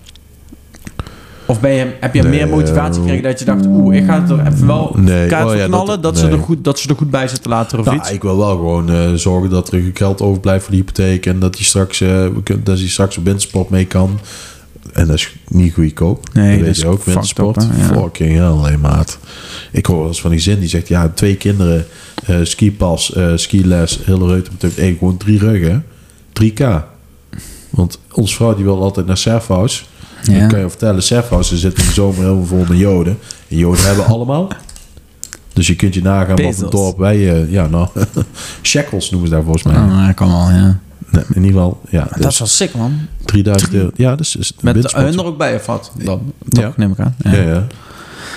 S1: Of ben je, heb je
S2: Nee,
S1: meer motivatie
S2: eh,
S1: gekregen dat je dacht, oeh, ik ga het er even wel
S2: Nee,
S1: kaart
S2: oh
S1: voor
S2: ja,
S1: knallen, dat,
S2: dat-
S1: ze er
S2: nee.
S1: goed, dat ze er goed bij zitten later of
S2: Nou,
S1: iets?
S2: ik wil wel gewoon eh, zorgen dat er geld overblijft voor de hypotheek. En dat hij straks, eh, we kun- dat hij straks op wintersport mee kan. En dat is niet goedkoop.
S1: Nee,
S2: dat
S1: dat
S2: weet
S1: is
S2: je ook.
S1: fucked
S2: Wintersport.
S1: up, hè, ja.
S2: Fucking hell, alleen maat. Ik hoor wel eens van die zin die zegt: ja, twee kinderen, eh, skipas, eh, skiles, hele reut. Dat betekent één, gewoon drie ruggen. 3K. Want ons vrouw die wil altijd naar Surfhouse.
S1: Ja.
S2: Ik kan je vertellen, Surfhouse ze zitten in de zomer helemaal vol met joden. En joden hebben allemaal. Dus je kunt je nagaan wat
S1: Bezels.
S2: een dorp wij... eh, ja, nou... shekels noemen ze daar volgens mij.
S1: Oh, dat kan wel, ja.
S2: Nee, in ieder geval, ja.
S1: Dat
S2: Dus
S1: is wel sick, man.
S2: 3000 euro. Ja, dat is- is... een
S1: Met
S2: windsport.
S1: hun er ook bij of wat? Dan,
S2: Ja.
S1: toch, neem ik aan. Ja.
S2: Ja, ja.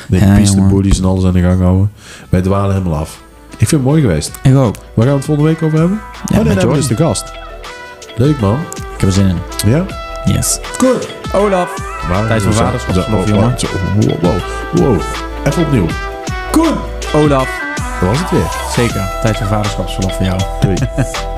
S2: Nee,
S1: Ja,
S2: piste,
S1: jongen.
S2: boelies en alles aan de gang houden. Wij dwalen helemaal af. Ik vind het mooi geweest.
S1: Ik ook.
S2: Waar gaan we het volgende week over hebben? oh, nee,
S1: met
S2: daar hebben we
S1: Jordan.
S2: dus de gast. Leuk, man.
S1: Ik heb er zin in.
S2: Ja?
S1: Yes.
S2: Goed.
S1: Olaf. Tijdens mijn vaderschapsverlof, jongen.
S2: Wow, wow, wow. Even opnieuw.
S1: Koen. Olaf.
S2: Dat was het weer.
S1: Zeker. Tijd voor vaderschapsverlof voor jou.
S2: Doei.